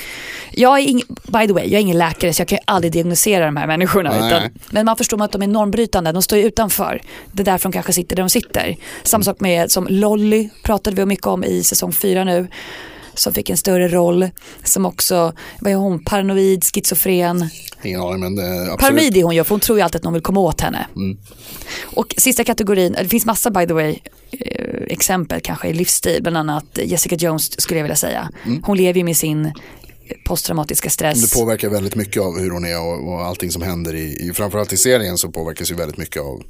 Speaker 3: jag är ing, by the way, jag är ingen läkare så jag kan ju aldrig diagnostisera de här människorna.
Speaker 4: Nej.
Speaker 3: Utan, men man förstår att de är normbrytande, de står ju utanför. Det är därför de kanske sitter där de sitter. Samma sak med som Lolly pratade vi mycket om i säsong fyra nu. Som fick en större roll, som också, vad är hon, paranoid, schizofren.
Speaker 4: Ingen aning men det är absolut.
Speaker 3: Paranoid är hon ju, för hon tror ju alltid att någon vill komma åt henne. Och sista kategorin, det finns massa by the way eh, exempel kanske i livsstil, bland annat Jessica Jones skulle jag vilja säga. Hon lever ju med sin posttraumatiska
Speaker 4: Det
Speaker 3: stress.
Speaker 4: påverkar väldigt mycket av hur hon är och, och allting som händer i, i, framförallt i serien så påverkas ju väldigt mycket av,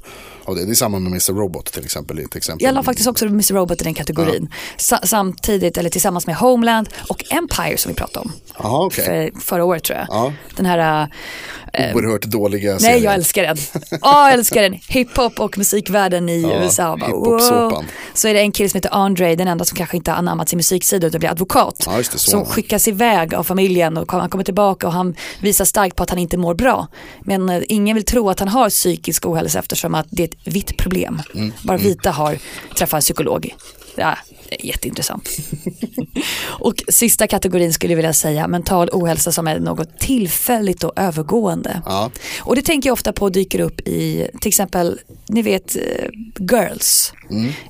Speaker 4: av det. Det är samma med Mr. Robot till exempel. i ett exempel.
Speaker 3: Jag la faktiskt också Mr. Robot i den kategorin. Sa- samtidigt, eller tillsammans med Homeland och Empire som vi pratade om
Speaker 4: Jaha, okej.
Speaker 3: för, förra året tror jag.
Speaker 4: Ja.
Speaker 3: Den här, eh,
Speaker 4: Oerhört dåliga serier.
Speaker 3: nej jag älskar den. Ja, jag älskar den. Hiphop och musikvärlden i
Speaker 4: Ja,
Speaker 3: USA. Bara,
Speaker 4: hiphop-såpan.
Speaker 3: wow. Så är det en kille som heter Andre, den enda som kanske inte har anammat sin musiksida utan blir advokat.
Speaker 4: Ja, just det, så.
Speaker 3: som skickas iväg av familjen och kom- han kommer tillbaka och han visar starkt på att han inte mår bra. Men eh, ingen vill tro att han har psykisk ohälsa eftersom att det är ett vitt problem.
Speaker 4: Mm.
Speaker 3: Bara vita har träffat en psykolog. Ja, det är jätteintressant. och sista kategorin skulle jag vilja säga mental ohälsa som är något tillfälligt och övergående.
Speaker 4: Ja.
Speaker 3: Och det tänker jag ofta på dyker upp i till exempel, ni vet, eh, Girls.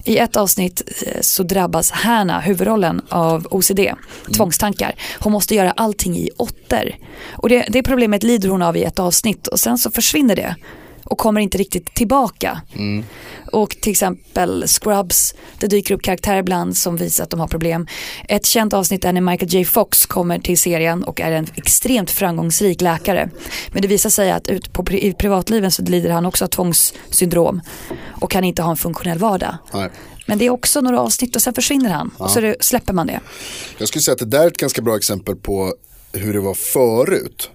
Speaker 3: I ett avsnitt eh, så drabbas Hanna, huvudrollen, av OCD, tvångstankar. Hon måste göra allting i åttor. Och det, det problemet lider hon av i ett avsnitt och sen så försvinner det och kommer inte riktigt tillbaka. Och till exempel Scrubs, det dyker upp karaktärer ibland som visar att de har problem. Ett känt avsnitt är när Michael J Fox kommer till serien och är en extremt framgångsrik läkare. Men det visar sig att ut på, pri- i privatliven så lider han också av tvångssyndrom och kan inte ha en funktionell vardag.
Speaker 4: Nej.
Speaker 3: Men det är också några avsnitt och sen försvinner han och så det, släpper man det.
Speaker 4: Jag skulle säga att det där är ett ganska bra exempel på hur det var förut.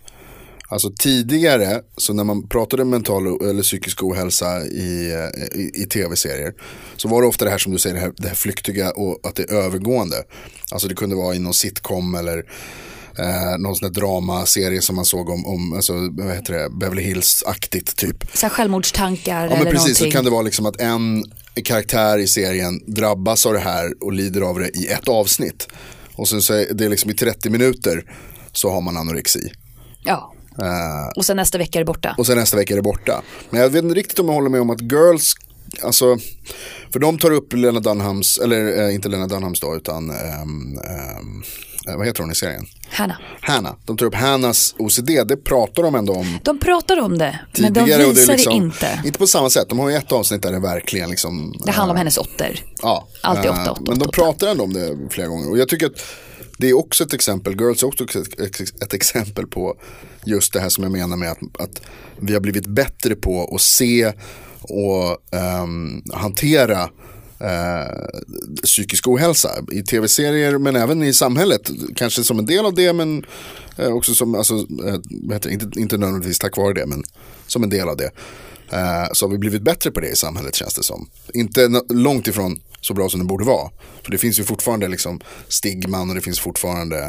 Speaker 4: Alltså tidigare, så när man pratade om mental o- eller psykisk ohälsa i, eh, i, i tv-serier så var det ofta det här som du säger, det här, det här flyktiga och att det är övergående. Alltså det kunde vara i någon sitcom eller eh, någon sån där dramaserie som man såg om, om alltså, vad heter det, Beverly Hills-aktigt typ.
Speaker 3: Så här självmordstankar
Speaker 4: Ja men
Speaker 3: eller
Speaker 4: precis, så
Speaker 3: någonting.
Speaker 4: kan det vara liksom att en karaktär i serien drabbas av det här och lider av det i ett avsnitt. Och sen så är det liksom i 30 minuter så har man anorexi.
Speaker 3: Ja.
Speaker 4: Eh,
Speaker 3: Och sen nästa vecka är det borta.
Speaker 4: och sen nästa vecka är det borta. Men jag vet inte riktigt om jag håller med om att girls, alltså, för de tar upp Lena Dunhams, eller eh, inte Lena Dunhams då, utan ehm, ehm, eh, vad heter hon i serien?
Speaker 3: Hanna.
Speaker 4: Hanna. De tar upp Hannas OCD, det pratar de ändå om
Speaker 3: De pratar om det, men de
Speaker 4: tidigare.
Speaker 3: visar
Speaker 4: och
Speaker 3: det,
Speaker 4: är liksom,
Speaker 3: inte.
Speaker 4: Inte på samma sätt, de har ju ett avsnitt där det verkligen liksom.
Speaker 3: Det handlar om
Speaker 4: eh,
Speaker 3: hennes åttor.
Speaker 4: Ja.
Speaker 3: Alltid
Speaker 4: eh,
Speaker 3: åtta, åtta,
Speaker 4: Men de
Speaker 3: åtta,
Speaker 4: pratar ändå om det flera gånger. Och jag tycker att det är också ett exempel, Girls är också ett- ett- ett exempel på just det här som jag menar med att, att vi har blivit bättre på att se och ehm, hantera eh, psykisk ohälsa i tv-serier men även i samhället. Kanske som en del av det men eh, också som, alltså, eh, vad heter det? inte, inte nödvändigtvis tack vare det men som en del av det. Eh, så har vi blivit bättre på det i samhället känns det som. Inte n- långt ifrån så bra som det borde vara. För det finns ju fortfarande liksom stigman och det finns fortfarande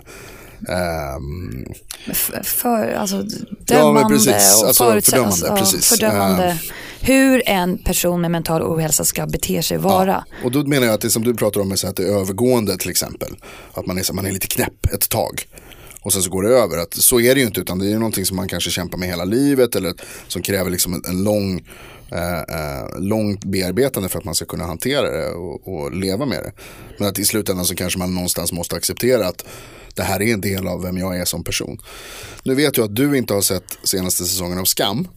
Speaker 4: ehm,
Speaker 3: F- för, alltså,
Speaker 4: Ja, men
Speaker 3: dömande
Speaker 4: precis.
Speaker 3: och
Speaker 4: Alltså,
Speaker 3: förutsätt-
Speaker 4: fördömande,
Speaker 3: alltså, ja,
Speaker 4: precis.
Speaker 3: fördömande.
Speaker 4: Eh.
Speaker 3: Hur en person med mental ohälsa ska bete sig vara.
Speaker 4: Och då menar jag att det som du pratar om är så här att det är övergående till exempel. Att man är, så, man är lite knäpp ett tag. Och sen så går det över. Att, så är det ju inte utan det är ju någonting som man kanske kämpar med hela livet. Eller som kräver liksom en, en lång, eh, eh, långt bearbetande för att man ska kunna hantera det och, och leva med det. Men att i slutändan så kanske man någonstans måste acceptera att det här är en del av vem jag är som person. Nu vet jag att du inte har sett senaste säsongen av Skam.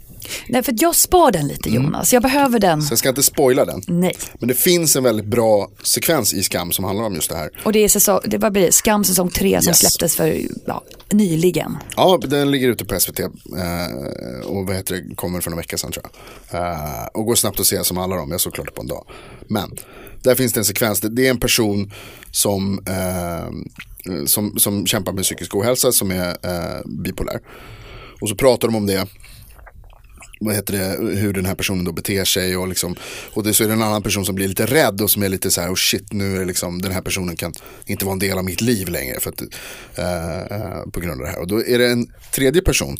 Speaker 3: Nej, för att jag spar den lite Jonas. Jag behöver den.
Speaker 4: Mm. Så jag ska inte spoila den.
Speaker 3: Nej.
Speaker 4: Men det finns en väldigt bra sekvens i Skam som handlar om just det här.
Speaker 3: Och det är säsong, det vad blir det? Skam säsong tre som
Speaker 4: Yes.
Speaker 3: släpptes för ja, nyligen.
Speaker 4: Ja, den ligger ute på SVT eh, och vad heter det, kommer för några vecka sedan tror jag. Eh, och går snabbt att se som alla dem, jag såg klart det på en dag. Men där finns det en sekvens, det, det är en person som, eh, som, som kämpar med psykisk ohälsa som är eh, bipolär. Och så pratar de om det vad heter det, hur den här personen då beter sig och liksom, och det, så är det en annan person som blir lite rädd och som är lite så här, oh shit nu är det liksom, den här personen kan inte vara en del av mitt liv längre för att, eh, eh, på grund av det här. Och då är det en tredje person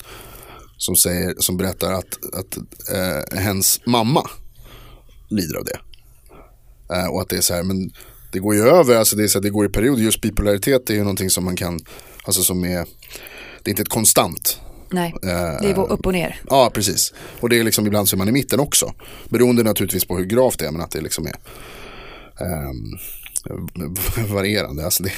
Speaker 4: som, säger, som berättar att, att eh, hens mamma lider av det. Eh, och att det är så här, men det går ju över, alltså det, är så här, det går i perioder. Just bipolaritet är ju någonting som man kan, alltså som är, det är inte ett konstant.
Speaker 3: Nej, det
Speaker 4: Ehm.
Speaker 3: är upp och ner.
Speaker 4: Ja, precis. Och det är liksom ibland så är man i mitten också. Beroende naturligtvis på hur gravt det är, men att det liksom är ehm, varierande. Alltså det,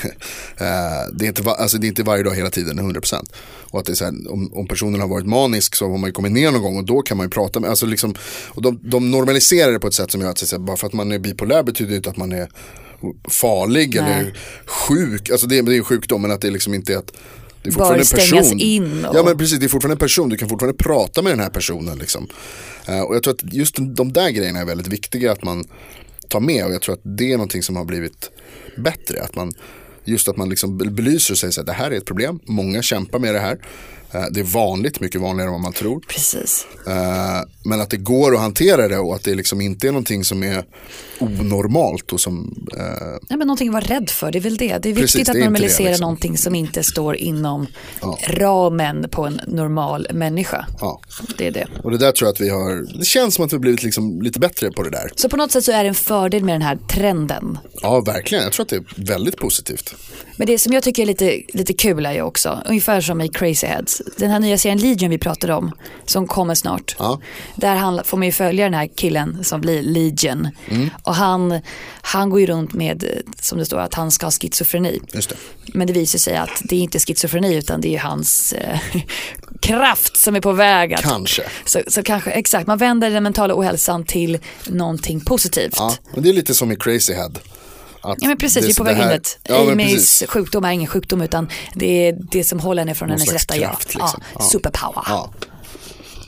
Speaker 4: eh, det, är inte, va- alltså det är inte varje dag hela tiden 100%. Och att det är så här, om, om personen har varit manisk så har man ju kommit ner någon gång och då kan man ju prata med, alltså liksom, och de, de normaliserar det på ett sätt som gör att, så att säga, bara för att man är bipolär betyder ju inte att man är farlig
Speaker 3: Nej.
Speaker 4: eller sjuk, alltså det, det är ju sjukdom men att det liksom inte är att det
Speaker 3: Bör
Speaker 4: är fortfarande en
Speaker 3: stängas
Speaker 4: person.
Speaker 3: in och-
Speaker 4: Ja men precis, det är fortfarande en person, du kan fortfarande prata med den här personen liksom. Eh, och jag tror att just de där grejerna är väldigt viktiga att man tar med och jag tror att det är någonting som har blivit bättre. Att man, just att man liksom be- belyser och säger så här, det här är ett problem, många kämpar med det här. Eh, det är vanligt, mycket vanligare än vad man tror.
Speaker 3: Precis.
Speaker 4: Eh, Men att det går att hantera det och att det liksom inte är någonting som är onormalt och som eh,
Speaker 3: Nej, men någonting att vara rädd för, det är väl det. Det är viktigt
Speaker 4: Precis, det är
Speaker 3: att
Speaker 4: inte det,
Speaker 3: normalisera
Speaker 4: liksom.
Speaker 3: någonting som inte står inom
Speaker 4: Ja.
Speaker 3: ramen på en normal människa.
Speaker 4: Ja.
Speaker 3: Det är det.
Speaker 4: Och det där tror jag att vi har, det känns som att vi har blivit liksom lite bättre på det där.
Speaker 3: Så på något sätt så är det en fördel med den här trenden.
Speaker 4: Ja, verkligen. Jag tror att det är väldigt positivt.
Speaker 3: Men det som jag tycker är lite, lite kul är ju också, ungefär som i Crazy Heads, den här nya serien Legion vi pratade om, som kommer snart.
Speaker 4: Ja.
Speaker 3: Där handla, får man ju följa den här killen som blir Legion.
Speaker 4: Mm.
Speaker 3: Och han, han går ju runt med, eh, som det står, att han ska ha schizofreni.
Speaker 4: Just det.
Speaker 3: Men det visar sig att det är inte schizofreni utan det är ju hans eh, kraft som är på väg att...
Speaker 4: Kanske.
Speaker 3: Så, så kanske, exakt, man vänder den mentala ohälsan till någonting positivt.
Speaker 4: Ja, men det är lite som i Crazy Head. Att
Speaker 3: Ja men precis, vi är på
Speaker 4: det
Speaker 3: väg
Speaker 4: här-
Speaker 3: inåt.
Speaker 4: Ja, men
Speaker 3: Amys
Speaker 4: precis.
Speaker 3: sjukdom är ingen sjukdom utan det är det som håller henne från
Speaker 4: Någon
Speaker 3: hennes
Speaker 4: slags
Speaker 3: rätta jag.
Speaker 4: kraft, liksom.
Speaker 3: Ja,
Speaker 4: Ja.
Speaker 3: superpower.
Speaker 4: Ja,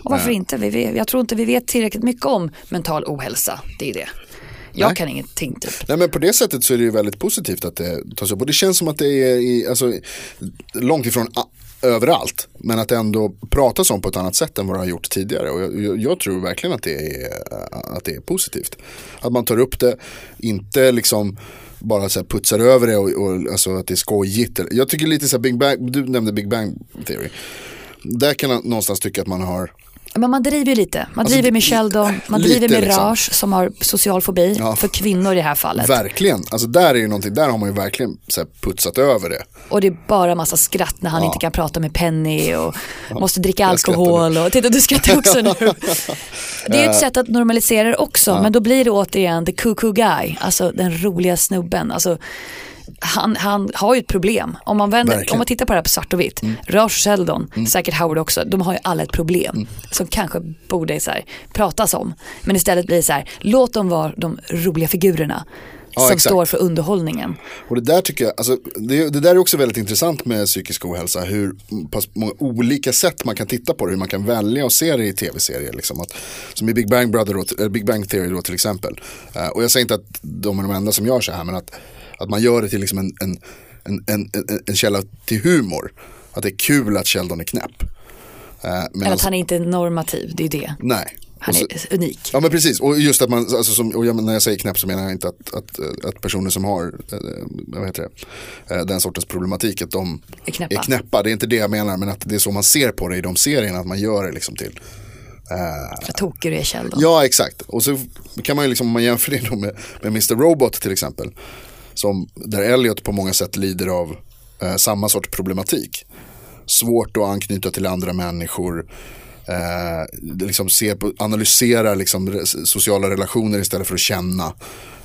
Speaker 3: Och varför inte? Vi, vet- jag tror inte vi vet tillräckligt mycket om mental ohälsa. Det är det. Jag
Speaker 4: Nej.
Speaker 3: kan ingenting typ.
Speaker 4: Nej men på det sättet så är det ju väldigt positivt att det tas upp. Och det känns som att det är i, alltså, långt ifrån a- överallt. Men att det ändå pratas om på ett annat sätt än vad det har gjort tidigare. Och jag, jag- jag tror verkligen att det, är, att det är positivt. Att man tar upp det, inte liksom bara så här putsar över det och, och alltså att det är skojigt. Jag tycker lite så här Big Bang, du nämnde Big Bang Theory. Där kan jag någonstans tycka att man har
Speaker 3: Men man driver ju lite. Man driver med Sheldon, man
Speaker 4: Alltså, lite
Speaker 3: driver med
Speaker 4: liksom.
Speaker 3: Raj som har social fobi
Speaker 4: Ja.
Speaker 3: för kvinnor i det här fallet.
Speaker 4: Verkligen, alltså där är ju någonting, där har man ju verkligen så här, putsat över det.
Speaker 3: Och det är bara massa skratt när han inte kan prata med Penny och måste dricka alkohol. Och, titta, du skrattar också nu.
Speaker 4: Eh.
Speaker 3: Det är ju ett sätt att normalisera det också, men då blir det återigen the cuckoo guy, alltså den roliga snubben. Alltså, han, han har ju ett problem. Om man, vänder,
Speaker 4: Verkligen. Mm.
Speaker 3: om man tittar på det här på svart och vitt, Rush Sheldon, säkert Howard också, de har ju alla ett problem
Speaker 4: Mm.
Speaker 3: som kanske borde så här, pratas om. Men istället blir det så här, låt dem vara de roliga figurerna
Speaker 4: Ja,
Speaker 3: som
Speaker 4: exakt.
Speaker 3: står för underhållningen.
Speaker 4: Och det där tycker jag, alltså, det, det där är också väldigt intressant med psykisk ohälsa. Hur pass många olika sätt man kan titta på det, hur man kan välja att se det i tv-serier. Liksom. Att, som i Big Bang, Brother, då, eller Big Bang Theory då, till exempel. Eh, och jag säger inte att de är de enda som gör så här, men att, att man gör det till liksom en, en, en, en, en, en källa till humor. Att det är kul att Sheldon är knäpp. Eh,
Speaker 3: Eller
Speaker 4: medans-
Speaker 3: att han inte är normativ, det är ju det.
Speaker 4: nej.
Speaker 3: Han
Speaker 4: Och så-
Speaker 3: är unik.
Speaker 4: Ja men precis, och just att man, alltså, som, och jag, när jag säger knäpp så menar jag inte att, att, eh, att personer som har eh, vad heter det, eh, den sortens problematik att de
Speaker 3: Är knäppa.
Speaker 4: är knäppa. Det är inte det jag menar men att det är så man ser på det i de serierna, att man gör det liksom till.
Speaker 3: Vad tokig du är Sheldon.
Speaker 4: Ja exakt, och så kan man ju liksom, om man jämför det då med, med Mr. Robot till exempel. Som, där Elliot på många sätt lider av eh, samma sorts problematik. Svårt att anknyta till andra människor. Eh, liksom se på, analysera liksom re, sociala relationer istället för att känna.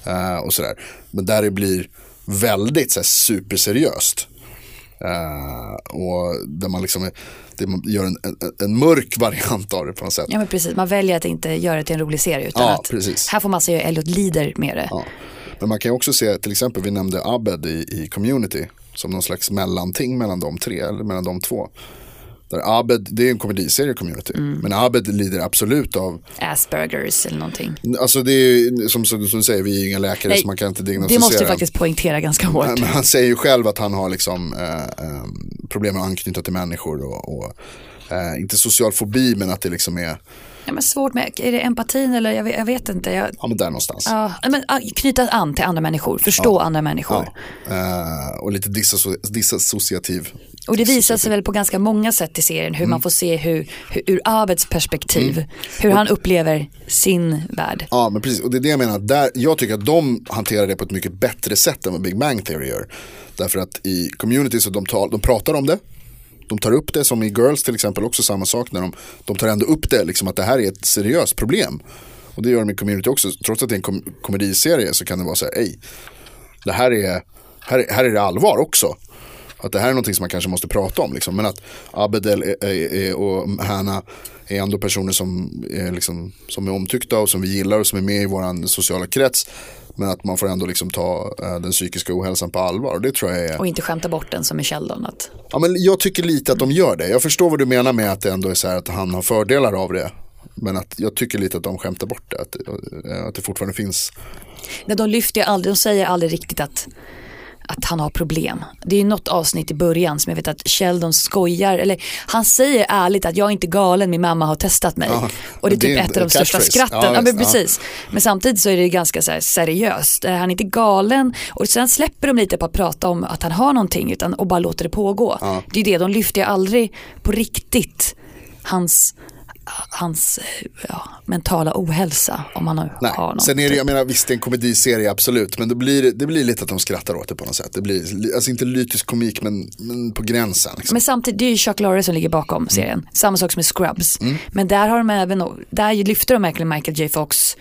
Speaker 4: Eh, och sådär. Men där det blir väldigt så här, superseriöst. Eh, och där man liksom är, det man gör en, en, en mörk variant av det på något sätt.
Speaker 3: Ja men precis, man väljer att inte göra det till en rolig serie utan
Speaker 4: Ja,
Speaker 3: att
Speaker 4: precis.
Speaker 3: här får man se hur Elliot lider med det.
Speaker 4: Ja. Men man kan ju också se, till exempel, vi nämnde Abed i, i Community som någon slags mellanting mellan de tre, eller mellan de två. Där Abed, det är ju en komediserie Community,
Speaker 3: Mm.
Speaker 4: men Abed lider absolut av,
Speaker 3: Aspergers eller någonting.
Speaker 4: alltså det är ju som, som du säger, vi är ju inga läkare
Speaker 3: Nej,
Speaker 4: så man kan inte
Speaker 3: Det
Speaker 4: diagnostisera.
Speaker 3: måste du
Speaker 4: en.
Speaker 3: faktiskt poängtera ganska hårt.
Speaker 4: Men han säger ju själv att han har liksom, eh, eh, problem med att anknyta till människor och, och eh, inte social fobi men att det liksom är
Speaker 3: ja, men svårt med, är det empatin eller jag vet, jag vet inte. Jag,
Speaker 4: Ja, men där någonstans.
Speaker 3: ja, men, ah, knyta an till andra människor, förstå andra människor.
Speaker 4: Ja. Eh, och lite disasso- disassociativ.
Speaker 3: Och det visar sig väl på ganska många sätt i serien hur
Speaker 4: Mm.
Speaker 3: man får se hur, hur ur Abeds perspektiv, hur han upplever sin värld.
Speaker 4: Ja, men precis. Och det är det jag menar. Där, jag tycker att de hanterar det på ett mycket bättre sätt än vad Big Bang Theory gör. Därför att i community så de, tal, de pratar om det. De tar upp det, som i Girls till exempel, också samma sak. när De, de tar ändå upp det, liksom att det här är ett seriöst problem. Och det gör de i community också. Trots att det är en kom komediserie så kan det vara så här, ej, det här är, här, är- här är det allvar också. Att det här är någonting som man kanske måste prata om. Liksom. Men att Abedel är- är- är- och Hanna är ändå personer som är, liksom, som är omtyckta och som vi gillar och som är med i vår sociala krets. Men att man får ändå liksom ta eh, den psykiska ohälsan på allvar. Och det tror jag är...
Speaker 3: Och inte skämta bort den som Michelle då. Att,
Speaker 4: Ja, men jag tycker lite att de gör det. Jag förstår vad du menar med att det ändå är så här att han har fördelar av det. Men att jag tycker lite att de skämtar bort det. Att, eh, att det fortfarande finns.
Speaker 3: nej, de lyfter ju aldrig, de säger aldrig riktigt att, att han har problem. Det är ju något avsnitt i början som jag vet att Sheldon skojar, eller han säger ärligt att jag är inte galen, min mamma har testat mig.
Speaker 4: Ja,
Speaker 3: och det är
Speaker 4: det är
Speaker 3: typ
Speaker 4: en-
Speaker 3: ett av
Speaker 4: en
Speaker 3: de största
Speaker 4: catchphrase.
Speaker 3: skratten.
Speaker 4: Ja,
Speaker 3: Ja, men
Speaker 4: visst, ja.
Speaker 3: precis. Men samtidigt så är det ju ganska så här seriöst. Eh, Han är inte galen och sen släpper de lite på att prata om att han har någonting utan, och bara låter det pågå. Det är ju det, de lyfter ju aldrig på riktigt hans, hans eh, ja, mentala ohälsa om han har,
Speaker 4: Nej.
Speaker 3: har någon.
Speaker 4: Sen är det, jag menar visst det är en komediserie absolut, men det blir, det blir lite att de skrattar åt det på något sätt. Det blir, li- alltså inte lytisk komik men, men på gränsen. Liksom.
Speaker 3: Men samtidigt, det är ju Chuck Lorre som ligger bakom
Speaker 4: Mm.
Speaker 3: serien. Samma sak som med Scrubs. Men där har de även, där lyfter de verkligen Michael J Fox.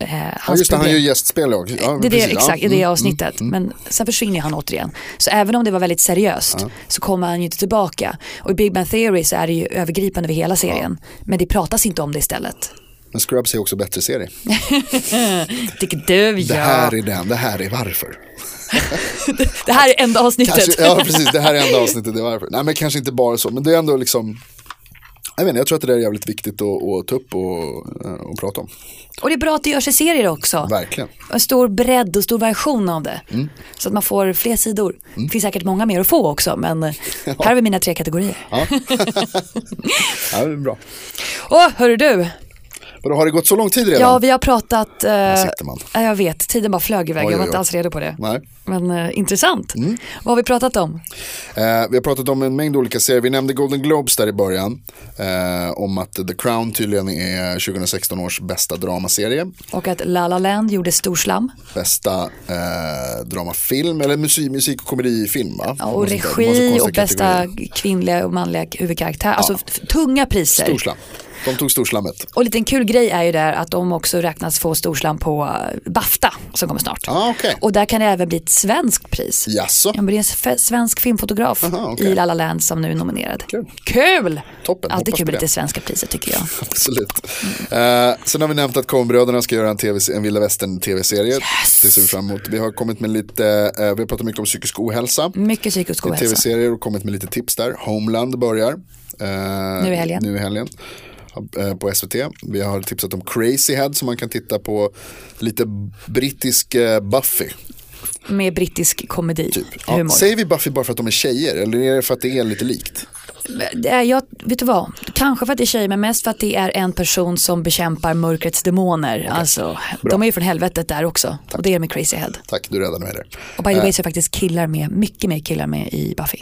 Speaker 3: Eh,
Speaker 4: ja,
Speaker 3: hans
Speaker 4: just det, han
Speaker 3: problem.
Speaker 4: gör gästspel också. Ja,
Speaker 3: Det är det,
Speaker 4: precis, ja.
Speaker 3: exakt, i
Speaker 4: Mm.
Speaker 3: det avsnittet. Men sen försvinner han återigen. Så även om det var väldigt seriöst så kommer han ju inte tillbaka. Och i Big Bang Theory så är det ju övergripande över hela serien. Men det pratas inte om det istället.
Speaker 4: Men Scrubs är också bättre serie.
Speaker 3: Tycker du
Speaker 4: Det
Speaker 3: ja.
Speaker 4: här är den, det här är varför.
Speaker 3: det här är enda avsnittet.
Speaker 4: Kanske, Alltså, ja precis, det här är enda avsnittet, det är varför. Nej men kanske inte bara så, men det är ändå liksom jag, vet inte, jag tror att det där är jävligt viktigt att, att ta upp och, eh, och prata om.
Speaker 3: Och det är bra att det görs i serier också.
Speaker 4: Verkligen.
Speaker 3: En stor bredd och stor version av det.
Speaker 4: Mm.
Speaker 3: Så att man får fler sidor. Det finns säkert många mer att få också men här har vi mina tre kategorier.
Speaker 4: Ja, det är bra.
Speaker 3: Åh, hörru du.
Speaker 4: Och då har det gått så lång tid redan?
Speaker 3: Ja, vi har pratat... eh,
Speaker 4: sitter man.
Speaker 3: ja, jag vet, tiden bara flög iväg.
Speaker 4: Oj,
Speaker 3: jag var
Speaker 4: oj,
Speaker 3: inte
Speaker 4: oj.
Speaker 3: alls redo på det.
Speaker 4: Nej. Mm.
Speaker 3: Men eh, intressant. Vad har vi pratat om?
Speaker 4: Eh, vi har pratat om en mängd olika serier. Vi nämnde Golden Globes där i början. Eh, om att The Crown tydligen är 2016 års bästa dramaserie.
Speaker 3: Och att La La Land gjorde storslam.
Speaker 4: Bästa eh, dramafilm, eller musik, musik och komedifilm va?
Speaker 3: Ja,
Speaker 4: Något
Speaker 3: och
Speaker 4: sånt där. Det
Speaker 3: regi
Speaker 4: var så konstiga
Speaker 3: och bästa
Speaker 4: kategorier.
Speaker 3: kvinnliga och manliga huvudkaraktär. Alltså f- tunga priser.
Speaker 4: Storslam. De tog storslammet.
Speaker 3: Och lite en kul grej är ju där att de också räknas få storslam på eh, Bafta som kommer snart.
Speaker 4: Ah, okej.
Speaker 3: Och där kan det även bli ett svenskt pris.
Speaker 4: Jaså?
Speaker 3: Ja, men det är en sfe- svensk filmfotograf
Speaker 4: Aha, okej.
Speaker 3: i La La Land som nu är nominerad.
Speaker 4: Kul.
Speaker 3: Kul!
Speaker 4: Toppen,
Speaker 3: Alltid
Speaker 4: hoppas
Speaker 3: kul
Speaker 4: på
Speaker 3: med
Speaker 4: det.
Speaker 3: lite svenska priser tycker jag.
Speaker 4: Absolut. Eh, sen har vi nämnt att Coenbröderna ska göra en, TV, en vilda västern tv-serie. Det ser vi fram emot. Vi har kommit med lite, eh, vi har pratat mycket om psykisk ohälsa.
Speaker 3: Mycket psykisk
Speaker 4: i
Speaker 3: Mm, ohälsa.
Speaker 4: tv-serier och kommit med lite tips där. Homeland börjar. eh,
Speaker 3: Nu i helgen.
Speaker 4: Nu i helgen. eh, På SVT. Vi har tipsat om Crazy Head som man kan titta på. Lite brittisk eh, Buffy.
Speaker 3: Med brittisk komedi.
Speaker 4: Typ. Ja.
Speaker 3: Humor.
Speaker 4: Säger vi Buffy bara för att de är tjejer eller är det för att det är lite likt?
Speaker 3: Eh, Det är, jag, vet du vad, kanske för att det är tjejer men mest för att det är en person som bekämpar mörkrets demoner. Alltså, de är ju från helvetet där också. Och det är med Crazy Head.
Speaker 4: Tack, du räddade mig där.
Speaker 3: Och by the
Speaker 4: Äh.
Speaker 3: way så är faktiskt killar med, mycket mer killar med i Buffy.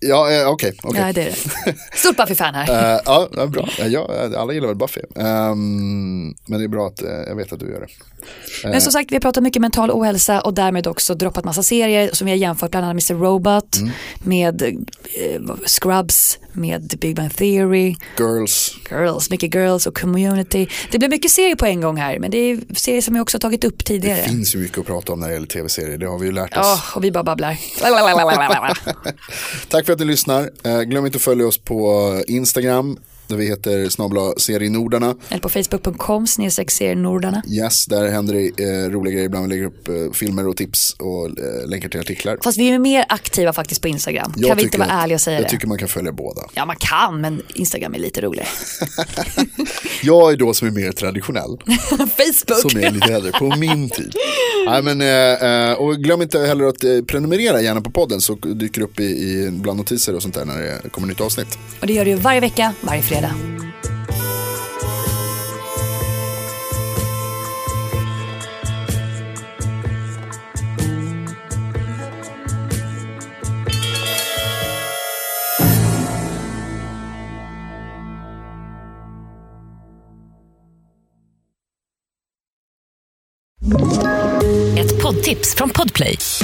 Speaker 4: Ja, eh, okej. okej.
Speaker 3: Ja, det är det. Stort Buffy-fan här.
Speaker 4: Eh, ja, ja, bra. Eh, Ja, alla gillar väl Buffy. Ehm, men det är bra att eh, jag vet att du gör det.
Speaker 3: Men som sagt, vi har pratat mycket mental ohälsa och därmed också droppat massa serier som vi har jämfört bland annat Mr. Robot
Speaker 4: Mm.
Speaker 3: med eh, Scrubs, med Big Bang Theory,
Speaker 4: Girls.
Speaker 3: Girls, mycket Girls och Community. Det blir mycket serier på en gång här, men det är serier som vi också har tagit upp tidigare.
Speaker 4: Det finns ju mycket att prata om när det gäller tv-serier. Det har vi ju lärt oss.
Speaker 3: Ja, och vi bara babblar.
Speaker 4: Tack för att ni lyssnar. Eh, glöm inte att följa oss på Instagram där vi heter snabla serienordarna.
Speaker 3: Eller på facebook.com snedstreck serienordarna.
Speaker 4: Yes, där händer det eh, roliga grejer ibland. Vi lägger upp eh, filmer och tips och eh, länkar till artiklar.
Speaker 3: Fast vi är ju mer aktiva faktiskt på Instagram. kan vi inte
Speaker 4: tycker
Speaker 3: vara
Speaker 4: att-
Speaker 3: ärliga och säga
Speaker 4: Jag
Speaker 3: det?
Speaker 4: tycker man kan följa båda.
Speaker 3: Ja, man kan, men Instagram är lite roligare.
Speaker 4: Jag är då som är mer traditionell.
Speaker 3: Facebook!
Speaker 4: Alltså, Som är lite äldre, på min tid. Nej, men, eh, eh, och glöm inte heller att eh, prenumerera gärna på podden så dyker det upp i, i bland notiser och sånt där när det kommer nytt avsnitt.
Speaker 3: Och det gör du ju varje vecka, varje fredag.
Speaker 5: Ett poddtips från Podplay.